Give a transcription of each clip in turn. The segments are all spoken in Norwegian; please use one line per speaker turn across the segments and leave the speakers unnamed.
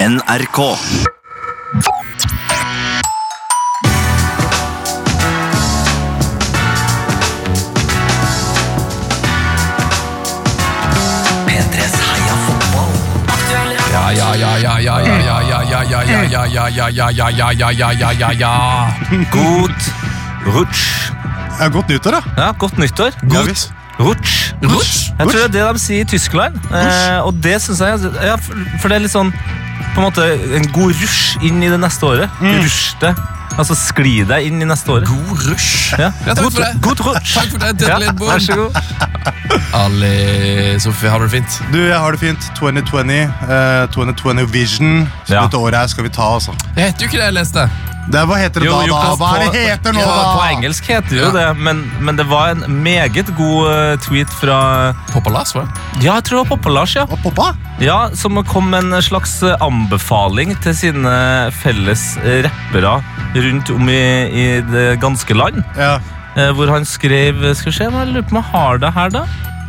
NRK. P3s Heia fotball.
Ja, ja, ja, ja, ja, ja, ja, ja, ja, ja, ja, ja, ja, ja, ja, ja, ja, ja, ja, ja, ja, ja.
God rutsj.
Ja, godt nyttår, da.
Ja, godt nyttår.
Ja,
Godt
visst.
rutsj.
Rutsj?
Jeg tror det er det de sier i Tyskland. Eh, og det syns jeg ja, For for det er litt sånn På en måte en god rusj inn i det neste året. Rusj det. Altså skli deg inn i neste året.
Mm. God rush.
Ja.
Ja, takk
God,
for det.
god rutsj.
Takk for det,
Ja,
Tete Lidbom.
vær så god.
Ali Sofie, har du det fint?
Du, jeg har det fint. 2020. eh, 2020 Vision. Så
Ja.
dette året her skal vi ta, altså.
Det heter jo ikke det jeg leste.
Det, hva heter det
Jo,
da,
jo,
da?
på-
Hva er det
på-
heter nå,
ja,
da?
På engelsk heter det jo
Ja.
det, men, men det var en meget god eh, tweet fra
Poppa Lars, var det?
Ja, jeg tror det var Poppa-Lars, ja.
Og poppa?
Ja, Som kom med en slags eh, anbefaling til sine felles eh, rappere rundt om i, i det ganske land.
Ja.
Eh, hvor han skrev Skal vi se, nå, jeg lurer på om jeg har det her, da.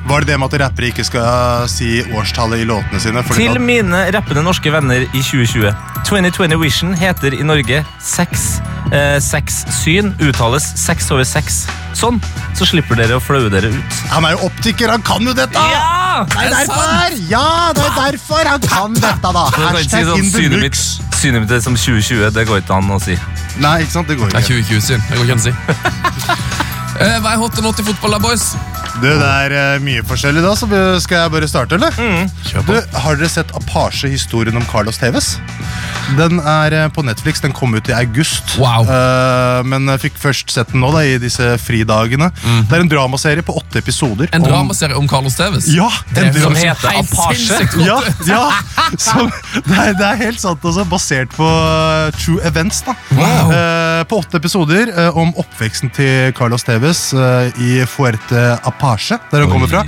Var det det med at rappere ikke skal eh, si årstallet i låtene sine? Fordi
Til
da-
mine rappende norske venner i 2020. 2020 Vision heter i Norge sex. Eh, sex syn uttales seks over seks. Sånn, så slipper dere å flaue dere ut.
Han er jo optiker, han kan jo dette!
Ja!
Det er derfor! Ja, det er derfor han kan dette, da!
Du kan ikke si
Hashtag
sånn
in the
synet mitt,
mix.
synet mitt er som 2020. Det går ikke an å si.
Nei, ikke sant? Det går
Det er
ikke.
2020-syn. Det går ikke an å si. Eh, Hva er hot og not i fotball, da, boys?
Du, det er eh, mye forskjellig da, så vi- skal jeg bare starte, eller?
Kjør
Du, har dere sett Apache historien om Carlos Tevez? Den er eh, på Netflix, den kom ut i august.
Wow.
Eh, men jeg fikk først sett den nå da, i disse fridagene. Det er en dramaserie på åtte episoder.
Mhm. En
om-
dramaserie om Carlos Tevez.
Ja, en
Som
dramaserie.
heter
Helt
Apache.
sinnssykt godt.
Ja, ja. Som, det, er, det er helt sant, altså. Basert på eh, true events. da
Wow.
Eh, På åtte episoder eh, om oppveksten til Carlos Tevez eh, i Fuerte Apache, der han kommer fra.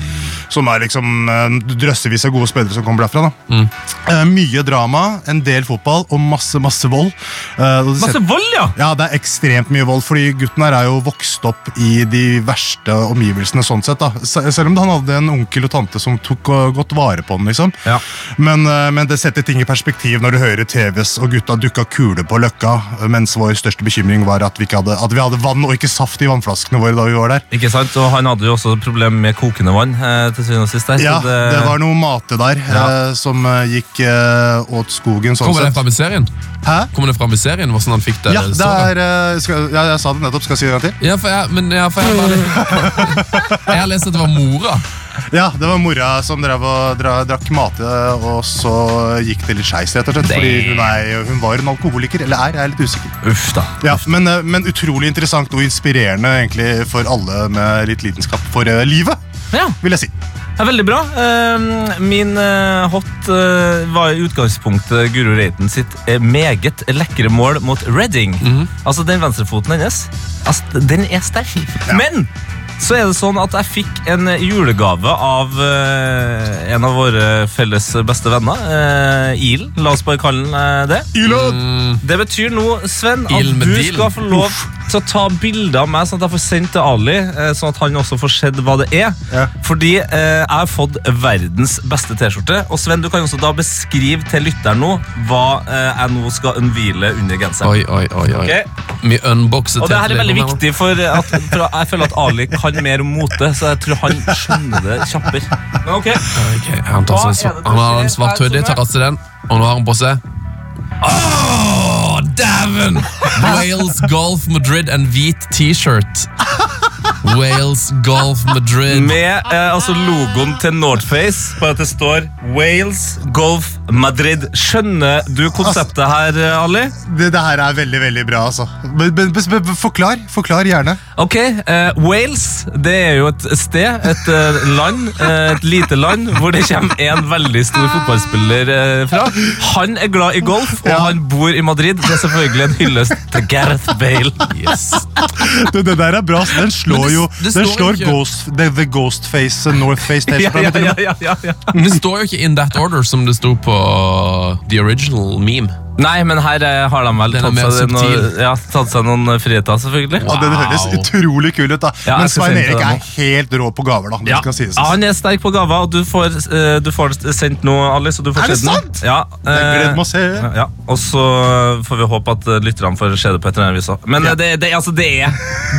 Som er liksom eh, drøssevis av gode spillere som kommer derfra. da Eh, Mye drama, en del fotball og masse, masse vold. Eh, og det
Masse vold, ja!
ja, det er ekstremt mye vold, fordi gutten her er jo vokst opp i de verste omgivelsene. sånn sett da. Se- Selv om han hadde en onkel og tante som tok og godt vare på den. liksom.
Ja.
Men, eh, men det setter ting i perspektiv når du hører TVs og gutta dukka kule på Løkka, eh, mens vår største bekymring var at vi, ikke hadde, at vi hadde vann og ikke saft i vannflaskene våre da vi var der.
Ikke sant? Og han hadde jo også problemer med kokende vann. eh, til syvende og sist der, så
Ja, det var noe mate der
Ja.
eh, som eh, gikk eh, åt skogen. sånn
Kommer det
sett.
fram i serien?
Hæ?
Kommer det fram i serien hvordan han fikk det?
Ja, det
såret?
er, eh, skal, ja, jeg sa det nettopp. Skal jeg si det en gang til?
Ja, for jeg, men ja, for jeg, bare, jeg har lest at det var mora.
Ja, det var mora som drev og dra, drakk mate, og så gikk det litt skeis, rett og slett. Fordi hun, er, hun var en alkoholiker, eller er, jeg er litt usikker.
Uff, da.
Ja, men, eh, men utrolig interessant og inspirerende egentlig for alle med litt lidenskap for eh, livet,
Ja,
vil jeg si.
det er veldig bra. Eh, Min eh, hot eh, var i utgangspunktet Guro Reiten sitt eh, meget lekre mål mot Reading. Altså, den venstrefoten hennes, altså, den er sterk. Men så er det sånn at jeg fikk en julegave av eh, en av våre felles beste venner. eh, Ilen, la oss bare kalle den eh, det.
Mm.
Mm.
Det betyr nå, Sven, at
Ild med
du
deal.
skal få lov til å ta bilder av meg, sånn at jeg får sendt til Ali, eh, sånn at han også får sett hva det er.
Ja.
Fordi eh, jeg har fått verdens beste T-skjorte. Og Sven, du kan også da beskrive til lytteren nå hva eh, jeg nå skal unnhvile under genseren.
Oi, oi, oi, oi.
Ok?
Vi unboxer
Og det her er
Tete
veldig
Lidbom her nå.
viktig, for, at, for jeg føler at Ali kan mer om mote, så jeg tror han skjønner det kjappere. Men ok,
Ok, han, tar
Hva
seg,
er det du
han har en
sier?
svart
Hva er det som
hoodie,
er-
tar rass i den, og nå har han på seg Åh, dæven! Wales Golf Madrid, en hvit T-shirt. Wales Golf Madrid.
Med eh, altså logoen til Northface, bare at det står Wales Golf Madrid. Skjønner du konseptet her, eh, Ali?
Det, det her er veldig, veldig bra, altså. Men, men, men, men forklar, forklar gjerne.
Ok, eh, Wales det er jo et sted, et eh, land, eh, et lite land, hvor det kommer en veldig stor fotballspiller eh, fra. Han er glad i golf, og
Ja.
han bor i Madrid. Det er selvfølgelig en hyllest til Gareth Bale.
Det, det der er bra, så den slår
Men det-
jo
det
Den
står
slår
ikke.
ghost, the, the Ghostface eh, Northface
Ja,
T-skjorta.
ja,
men til og
ja,
med-
ja, ja, ja.
Men Det står jo ikke in that order som det sto på the uh, original meme.
Nei, men her eh, har de vel
Den er
tatt
mer
seg, noen,
subtil.
ja, tatt seg noen friheter, selvfølgelig.
Ja, Den
Wow.
høres utrolig kul ut, da.
Ja,
Men
jeg skal
Svein
sende
Erik
til deg
er helt rå på gaver, da. Det skal sies.
Ja,
altså.
Ah, han er sterk på gaver, og du får, eh, du får sendt noe, Alice. Og du får
Er det
se den.
sant?
Ja,
Jeg gleder meg å
eh,
se.
ja, og så får vi håpe at eh, lytterne får se det på et eller annet vis. også. Men eh, det, det, altså, det er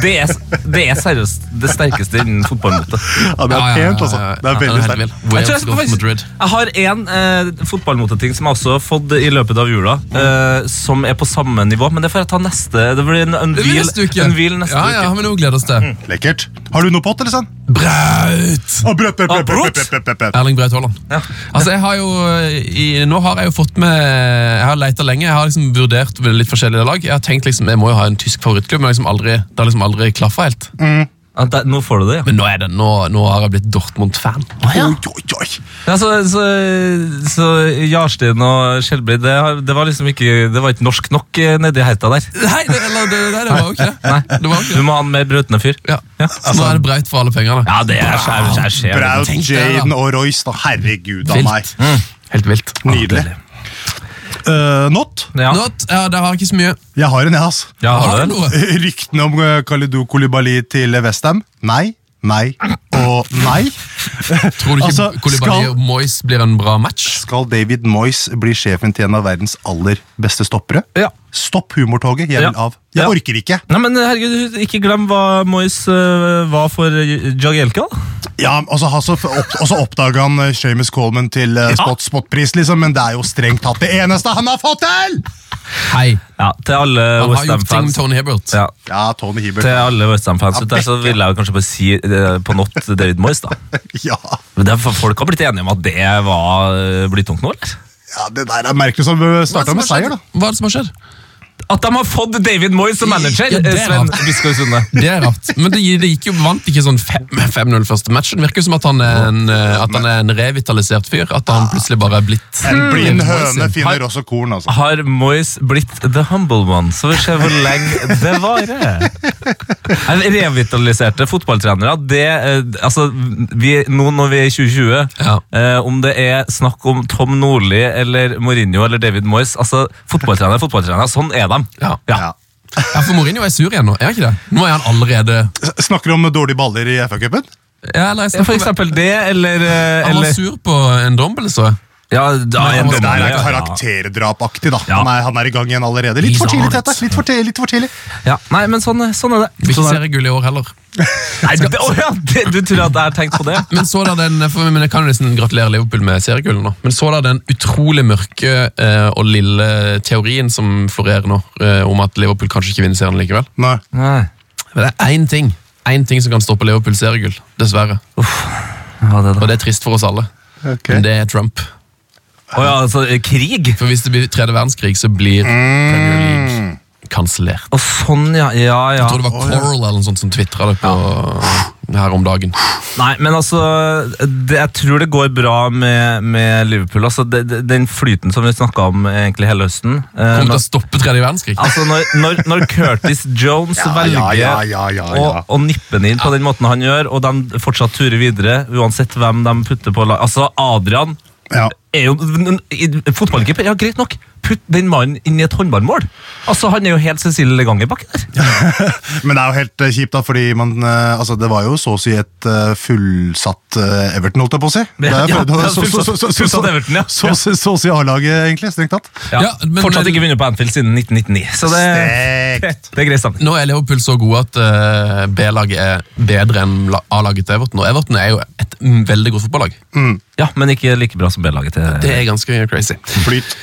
det er, det er seriøst det sterkeste innen fotballmote.
Ja, det er pent, altså. Det er veldig sterkt.
Jeg, tror jeg,
Wales
skal
Golf Madrid.
faktisk, jeg har en eh, fotballmoteting som jeg også har fått i løpet av jula, eh, som er på samme nivå, men det får jeg ta neste. Det blir en
Det blir
unveil
neste uke.
unveil neste
ja, ja,
uke. Mm.
men nå gleder oss til.
Lekkert. Har du noe pott, eller sånn?
Braut!
Ah, brøt, brøt,
Ah, brøt.
brøt, brøt, brøt, brøt, brøt, brøt.
Erling Braut Haaland.
Ja.
Altså, jeg har jo eh, i, Nå har jeg jo fått med Jeg har leita lenge. Jeg har liksom vurdert ved litt forskjellige lag. Jeg har tenkt liksom, jeg må jo ha en tysk favorittklubb, men jeg har liksom aldri, det har liksom aldri klaffa helt.
Mm. Ja, der, nå får du det, ja.
Men nå er det, nå, nå har jeg blitt Dortmund-fan.
Oi, oi, oi.
ja så, så, så Jarstein og Skjelbreid, det, har- det var liksom ikke Det var ikke norsk nok eh, nedi heita der.
Nei, det, eller, det, nei, det var jo ikke det. det, var jo
Du
ikke det.
må ha en mer brautende fyr. altså,
Ja. Så nå er det Braut for alle pengene.
Ja, det er skjær, skjær, skjær.
Braut,
tenk deg, da.
Jaden og Royce, da. Herregud a meg.
Vilt. Helt vilt.
Nydelig. Eh, not?
Ja.
Not, ja, der har jeg ikke så mye.
Jeg har en, jeg, altså.
Ja,
Har
har
du
du det?
noe?
Ryktene om eh, Kalidou Kolibali til Westham? Nei, nei og nei.
Tror du ikke
Altså,
Kolibali
skal-
og Moyes blir en bra match?
Skal David Moyes bli sjefen til en av verdens aller beste stoppere?
Ja.
Stopp humortoget, jeg vil
Ja.
av. Jeg
Ja.
orker ikke.
Nei, men herregud, ikke glem hva Moyes eh, var for eh, Jagielka. da.
Ja, Og så altså, opp, og så oppdaga han eh, Seamus Coleman til eh, spot, spotpris, liksom, men det er jo strengt tatt det eneste han har fått til!
Hei,
Ja, til alle
han har
West
gjort ting
Ham-fans.
med Tony Hibbert.
Ja,
Ja, Tony
til
Hibbert.
alle West Ham-fans
Ja,
ut der, så
begge.
vil jeg jo kanskje bare si eh, på not David Moyes, da.
Ja,
Men det er, for folk har blitt enige om at det var eh, blytungt nå, eller?
ja Det der er merkelig som starta med seier, da.
Hva er det som har skjedd?
At de har fått David Moyes som manager,
Ja, det er
eh, Sven
rart.
Biskår Sunde.
Det er rart. Men det, det gikk jo, vant ikke sånn fem- 5-0 første matchen. Det virker jo som at han, er en, eh, at han er en revitalisert fyr. At han plutselig bare er blitt
En
Hmm.
blind høne
Moyes.
finner også korn, altså.
Har Moyes blitt the humble one? Så vi ser hvor lenge det varer. Nei, Revitaliserte fotballtrenere, det eh, Altså, vi, nå når vi er i 2020,
Ja.
eh, om det er snakk om Tom Nordli eller Mourinho eller David Moyes Altså, fotballtrenere er fotballtrenere. Sånn er de.
Ja.
Ja.
ja, for Mourinho er sur igjen nå. Er han ikke det? Nå er han allerede
S- Snakker om dårlige baller i FA-cupen?
ja, eller, jeg
Ja, For
snakker med-
eksempel det, eller, eh,
Han var
eller
sur på en dombel, så jeg.
Ja, da
Men
er
han
det
Det der er
ja, ja.
karakterdrapaktig, da.
Ja.
Han, er, han er i gang igjen allerede. Litt for
He's on
tidlig,
it.
Tete. Litt for tidlig, litt for tidlig.
ja. Nei, men sånn, sånn er
Vil
det.
ikke
Sånn er det.
seriegull i år heller.
Nei, det, å ja, det. Du tror at jeg har tenkt på det?
Men så da den, for, men Jeg kan jo nesten gratulere Liverpool med seriegullet nå. Men så da den utrolig mørke eh, og lille teorien som florerer nå, eh, om at Liverpool kanskje ikke vinner serien likevel.
Nei.
Nei.
Men det er én ting Én ting som kan stoppe Liverpool seriegull, dessverre.
Ja, det da.
Og det er trist for oss alle.
Ok.
Men det er Trump.
Å ja, altså, eh, krig?
For hvis det blir tredje verdenskrig, så blir Premier League kansellert.
Å, sånn, ja. Ja, ja.
Jeg tror det var Coral eller noe sånt som tvitra det på her om dagen.
Nei, men altså det, Jeg tror det går bra med, med Liverpool. Altså, det, det, den flyten som vi snakka om egentlig hele høsten eh,
Kommer til
når,
å stoppe tredje verdenskrig.
Altså, når, når, når Curtis Jones
Ja,
velger
ja, ja, ja, ja, ja.
Å, å nippe den inn på den måten han gjør, og de fortsatt turer videre, uansett hvem de putter på lag Altså, Adrian
Ja.
er jo n- n- i- fotballkeeper. Ja, greit nok. Putt den mannen inn i et håndballmål. Altså, Han er jo helt Cecilie Leganger-bakke der.
Men det er jo helt eh, kjipt, da, fordi man, eh, altså, det var jo så å si et eh, fullsatt eh, Everton, holdt jeg på å si. Det er-
Ja,
det var
ja,
så- så- så- så-
fullsatt- fullsatt Everton, ja.
Så så- så å si A-laget, egentlig. Strengt tatt.
Ja,
Ja, men-
fortsatt ikke vunnet på Anfield siden 1999. Så det, Eh,
Stekt.
det er grei stemning.
Nå er Liverpool så gode at eh, B-laget er bedre enn la- A-laget til Everton. Og Everton er jo et mm, veldig godt fotballag.
Ja, men ikke like bra som B-laget til
Det er ganske crazy.
Flyt.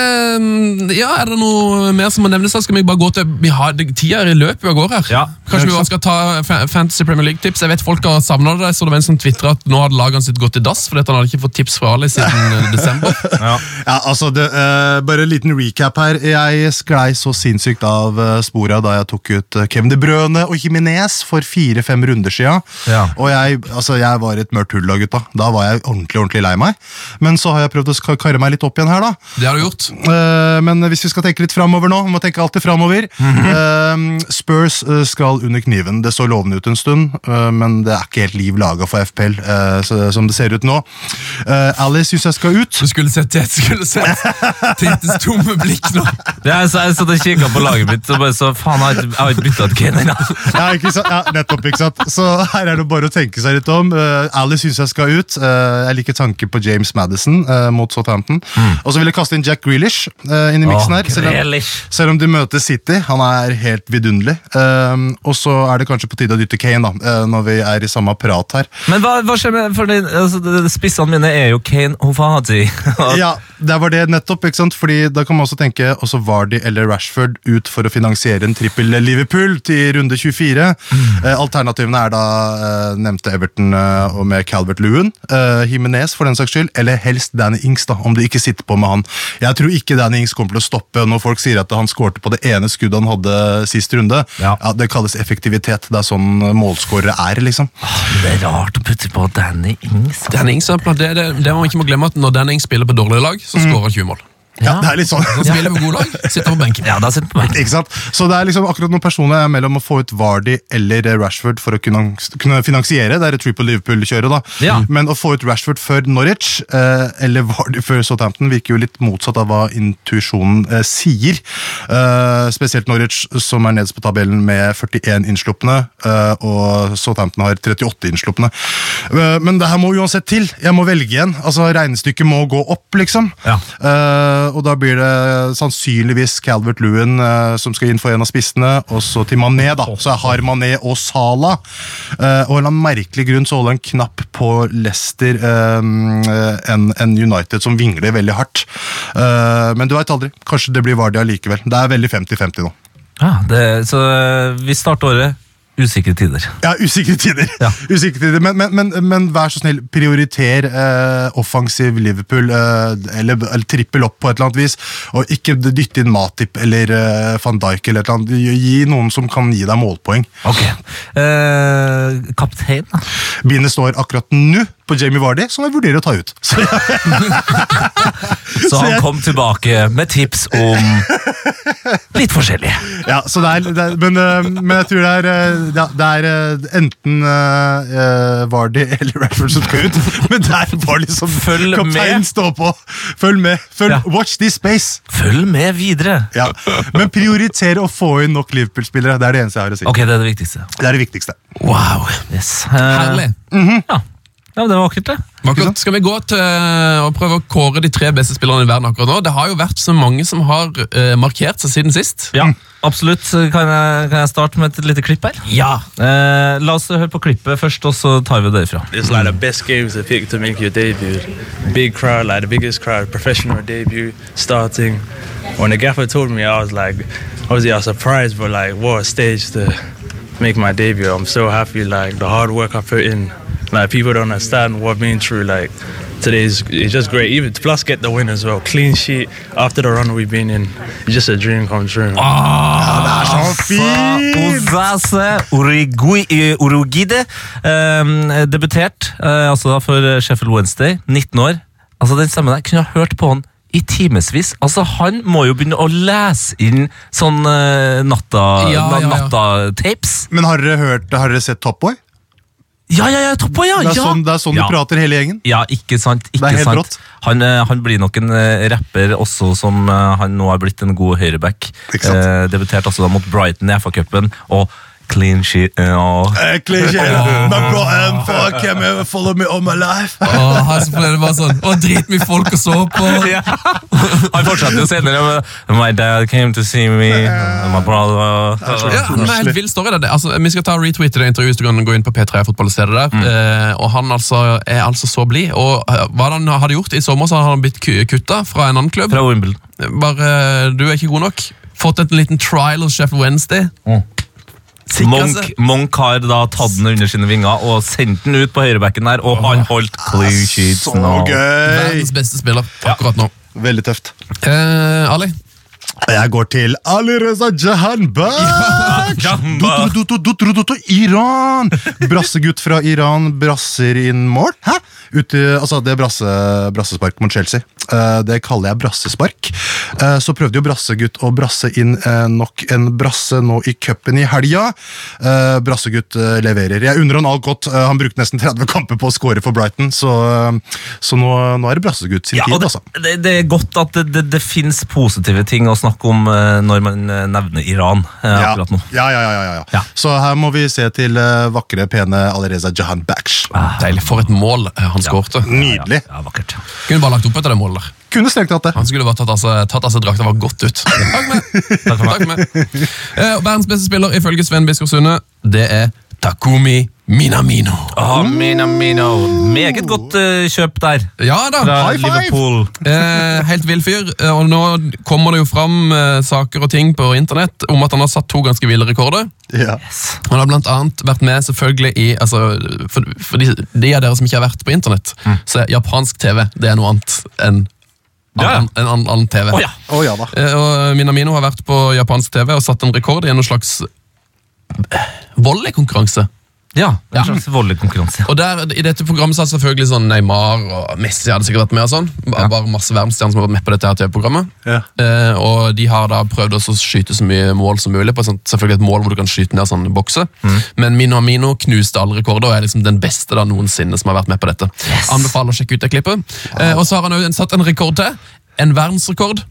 Ehm, ja, Er det noe mer som må nevnes? her? Skal vi bare gå til vi har, det- Tida er i løp vi går her.
Ja.
Kanskje vi bare skal ta fa- Fantasy Premier League-tips? Jeg vet Folk har savna det. Så det var en som tvitra at nå hadde lagene sitt gått i dass fordi at han hadde ikke fått tips fra Ali siden eh, desember.
Ja.
Ja, altså, det, eh, Bare en liten recap her. Jeg sklei så sinnssykt av uh, spora da jeg tok ut eh, Kevin De Brøne og Jiminez for fire-fem runder sia.
Ja.
Og jeg, altså, jeg var i et mørkt hull da, gutta. Da var jeg ordentlig ordentlig lei meg. Men så har jeg prøvd å ska- karre meg litt opp igjen her, da.
Det har du gjort.
Eh, men hvis vi skal tenke litt framover nå, vi må tenke alltid framover. Eh, Spurs eh, skal under kniven. Det så lovende ut en stund, eh, men det er ikke helt liv laga for FPL, eh, så, som det ser ut nå. Eh, Alice syns jeg skal ut.
Du skulle sett det, du skulle sett Tintes tomme blikk nå.
Ja, så jeg satt og kikka på laget mitt og bare så faen, jeg har ikke- jeg har ikke bytta ut Kane ennå.
Ja, ikke sant? Ja, nettopp, ikke sant? Så her er det bare å tenke seg litt om. Uh, Alice syns jeg skal ut. Eh, jeg liker tanken på James Madison eh, mot Southampton. Og så vil jeg kaste inn Jack Grealish eh, inn i miksen her. Selv om,
Grealish.
selv om de møter City. Han er helt vidunderlig. Eh, og så er det kanskje på tide å dytte Kane, da, eh, når vi er i samme prat her.
Men hva, hva skjer med for det, altså, det- det- Spissene mine er jo Kane og Fahadi.
Ja, det var det nettopp, ikke sant? Fordi da kan man også tenke også Vardy eller Rashford ut for å finansiere en trippel Liverpool til runde 24. Eh, alternativene er da eh, nevnte Everton eh, og med Calvert Lewin, eh, Jimenez for den saks skyld, eller helst Danny Ings, da, om de ikke sitter på med han. Jeg tror ikke Danny Ings kommer til å stoppe når folk sier at han skårte på det ene skuddet han hadde sist runde.
Ja.
Det kalles effektivitet. Det er sånn målskårere er, liksom.
Det er rart å putte på Danny Ings.
Denning, så det, det, det må man ikke må glemme at Når Denning spiller på dårlige lag, så skårer han 20 mål.
Ja, det er litt sånn.
Han spiller på gode lag, sitter på benken.
Ja, da sitter på meg.
Ikke sant? Så det er liksom akkurat noen personer er mellom å få ut Vardy eller eh, Rashford for å kunne, kunne finansiere. Det er et triple Liverpool-kjøret, da.
Ja.
Men å få ut Rashford før Norwich eh, eller Vardy før Southampton virker jo litt motsatt av hva intuisjonen eh, sier. Eh, spesielt Norwich, som er nederst på tabellen med 41 innslupne, eh, og Southampton har 38 innslupne. Eh, men det her må uansett til. Jeg må velge igjen. Altså, Regnestykket må gå opp, liksom.
Ja.
Eh, og da blir det sannsynligvis Calvert Lewin eh, som skal inn for en av spissene, og så til Mané, da. Så jeg har Mané og Sala. Eh, og av en eller annen merkelig grunn så holder han knapp på Leicester eh, enn enn United, som vingler veldig hardt. Eh, men du veit aldri. Kanskje det blir Vardia likevel. Det er veldig 50-50 nå.
Ja, det, så eh, vi starter året usikre tider.
Ja, usikre tider.
Ja.
Usikre tider. Men, men, men, men vær så snill, prioriter eh, offensiv Liverpool, eh, eller, eller trippel opp på et eller annet vis. Og ikke dytte inn Matip eller eh, van Dijk eller et eller annet. Gi, gi noen som kan gi deg målpoeng.
Ok. Eh, kaptein, da?
Bindet står akkurat nå på Jamie Vardy, som jeg vurderer å ta ut. Så jeg,
Så
Så jeg-
han kom tilbake med tips om litt forskjellige.
ja, så det er, det er, men, eh, men jeg tror det er, eh, ja, det er eh, enten eh, eh, Vardy eller Rashford som skal ut. Men der var liksom
Følg med.
kapteinen står på. Følg med. Følg,
Ja.
Watch this space.
Følg med videre.
Ja. Men prioritere å få inn nok Liverpool-spillere. Det er det eneste jeg har å si.
Ok, det er det viktigste.
Det er det viktigste.
Wow,
Yes. Eh,
herlig.
Ja. ja, men det var vakkert, det.
Vakkert. Skal vi gå til eh, å prøve å kåre de tre beste spillerne i verden akkurat nå? Det har jo vært så mange som har eh, markert seg siden sist.
Ja, absolutt. Kan jeg, kan jeg starte med et lite klipp her?
Ja.
Eh, la oss høre på klippet først, og så tar vi det derfra.
It's like the best games they pick to make your debut. Big crowd, like the biggest crowd, professional debut, starting. When the gaffer told me, I was like, obviously I was surprised, but like, what a stage to make my debut. I'm so happy, like the hard work I put in. Like people don't understand what I've been through. Like today's, it's just great. Even plus get the win as well. Clean sheet after the run we've been in. It's just a dream come true.
Ozase Origui- eh, Orogide. Eh, debutert eh, altså da for Sheffield Wednesday, 19 år. Altså Den stemmen der kunne jeg hørt på han i timevis. Altså, han må jo begynne å lese inn sånn eh, natta,
Ja, ja,
na,
ja.
natta-tapes.
Men har dere hørt, har dere sett Top Boy?
Ja, ja, ja! Toppa, ja!
Det er
Ah, ja.
sånn, det er sånn
Ja.
de prater, hele gjengen.
Ja, ikke sant. ikke
er helt
sant.
rått.
Han, eh, han blir nok en eh, rapper også som eh, han nå har blitt en god høyreback.
Ikke sant.
Eh, debutert altså da mot Brighton i FA-cupen. Og clean sheet eh, og-
Åh, her så ble det bare sånn Å, dritmye folk å så på.
Han fortsetter jo senere med My dad came to see me, and my brother
Ja, det er en helt vild story. Det. Altså, vi skal ta og retweete det intervjuet hvis du kan gå inn på P3 Fotball og se det der. Eh, og han altså, er altså så blid. Og eh, hva han hadde gjort i sommer, så hadde han blitt ku- kutta fra en annen klubb.
Fra Wimbledon.
Bare eh, du er ikke god nok. Fått en liten trial hos Chef Wednesday. Sikret
Monk,
seg.
altså.
Monk har da tatt den under sine vinger og sendt den ut på høyrebacken der, og han holdt clean sheets
Så
nå.
gøy!
Verdens beste spiller akkurat nå.
Veldig tøft.
Eh, Ali,
Og jeg går til Ali Reza Jahanbaksh!
Jahanbaksh.
Dutu, dutu, dutu, dutu, Iran! Brassegutt fra Iran brasser inn mål. Hæ? Ute, altså, det er brasse, brassespark mot Chelsea. Eh, det kaller jeg brassespark. Eh, så prøvde jo Brassegutt å brasse inn eh, nok en brasse nå i cupen i helga. Eh, brassegutt eh, leverer. Jeg unner han alt godt. Eh, han brukte nesten 30 kamper på å score for Brighton, så, eh, så nå, nå er det Brassegutt sin
Ja, og
tid,
det,
altså.
det, det er godt at det, det, det finnes positive ting å snakke om eh, når man eh, nevner Iran eh,
Ja.
akkurat nå.
Ja, ja, ja, ja, ja.
Ja.
Så her må vi se til eh, vakre, pene Alireza Jahan Baksh.
Deilig. For et mål eh, han skårte.
Nydelig.
Ah, Ja, vakkert.
Kunne bare lagt opp etter det målet der.
Kunne strengt tatt det.
Han skulle bare tatt av seg, tatt av seg drakta og var godt ut. Takk med. Takk for meg. Eh, og verdens beste spiller ifølge Sven Biskår Sunde, det er Takumi Minamino.
Meget godt eh, kjøp der.
Ja da!
Fra
High five!
Liverpool.
Eh, helt vill fyr. Eh, Og nå kommer det jo fram eh, saker og ting på internett om at han har satt to ganske ville rekorder.
Ja.
Han har blant annet vært med selvfølgelig i altså, For, for de, de av dere som ikke har vært på internett,
Mm.
så er japansk TV det er noe annet enn
Ja, ja.
annen en, annen- annen TV.
Å ja.
Å ja da.
Eh, Og Minamino har vært på japansk TV og satt en rekord i en slags eh, volleykonkurranse.
Ja, en slags volleykonkurranse.
Og der, I dette programmet så hadde selvfølgelig sånn Neymar og Messi hadde sikkert vært med. og sånn Bare, bare masse verdensstjerner som har vært med på dette her TV-programmet.
Ja.
Eh, og de har da prøvd også å skyte så mye mål som mulig. På et sånt, selvfølgelig et mål hvor du kan skyte ned sånne bokser. Men Mino Amino knuste alle rekorder og er liksom den beste da noensinne som har vært med på dette. Anbefaler å sjekke ut det klippet. Eh, og så har han også satt en rekord til. En verdensrekord.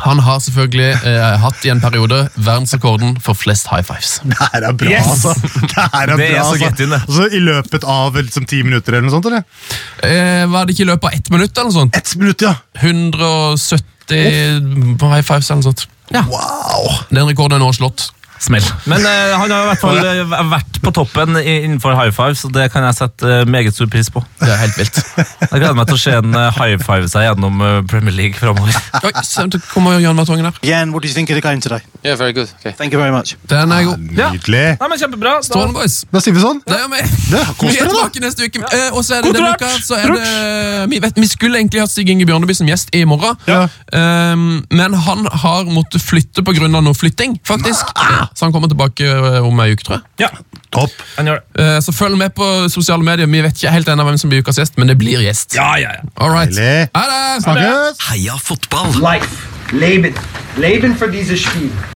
Han har selvfølgelig eh, hatt i en periode verdensrekorden for flest high fives.
Det her er bra,
Yes!
altså. Det her er
Det er
bra,
så
altså.
get in, det.
Altså, I løpet av liksom, ti minutter eller noe sånt? eller?
Eh, var det ikke i løpet av ett minutt eller noe sånt?
Ett minutt, ja.
170 high fives eller noe sånt.
Wow!
Den rekorden er nå slått.
Smell. Men eh, han har i hvert fall eh, vært på toppen i- innenfor high five, så det kan jeg sette eh, meget stor pris på.
Det er helt vilt.
Jeg gleder meg til å se en eh, high five seg gjennom eh, Premier League framover.
Oi, se, det kommer Jan Vertongen her.
Jan, what do you think of the game today?
Yeah, very good. Okay.
Thank you very much.
Den er god.
Ja.
Nydelig.
Nei, men Kjempebra. Da,
Strålende, boys.
Da sier vi sånn.
Det gjør vi.
Det, kos
Vi er
dere, da.
tilbake neste uke. Eh, og så er det
God
denne
trøkk!
uka, så er det, eh, vi, vet, vi skulle egentlig hatt Stig Inge Bjørneby som gjest i morgen,
Ja.
Ehm, men han har måttet flytte pga. noe flytting, faktisk.
Ah.
Så han kommer tilbake eh, om ei uke, tror jeg.
ja,
Topp.
han gjør det.
Eh, så følg med på sosiale medier. Vi vet ikke helt ennå hvem som blir ukas gjest, men det blir gjest.
Ja, ja, ja.
All right.
Deilig.
Ha det!
Snakkes.
Heia fotball!
Life. Leben. Leben für dieses Spiel.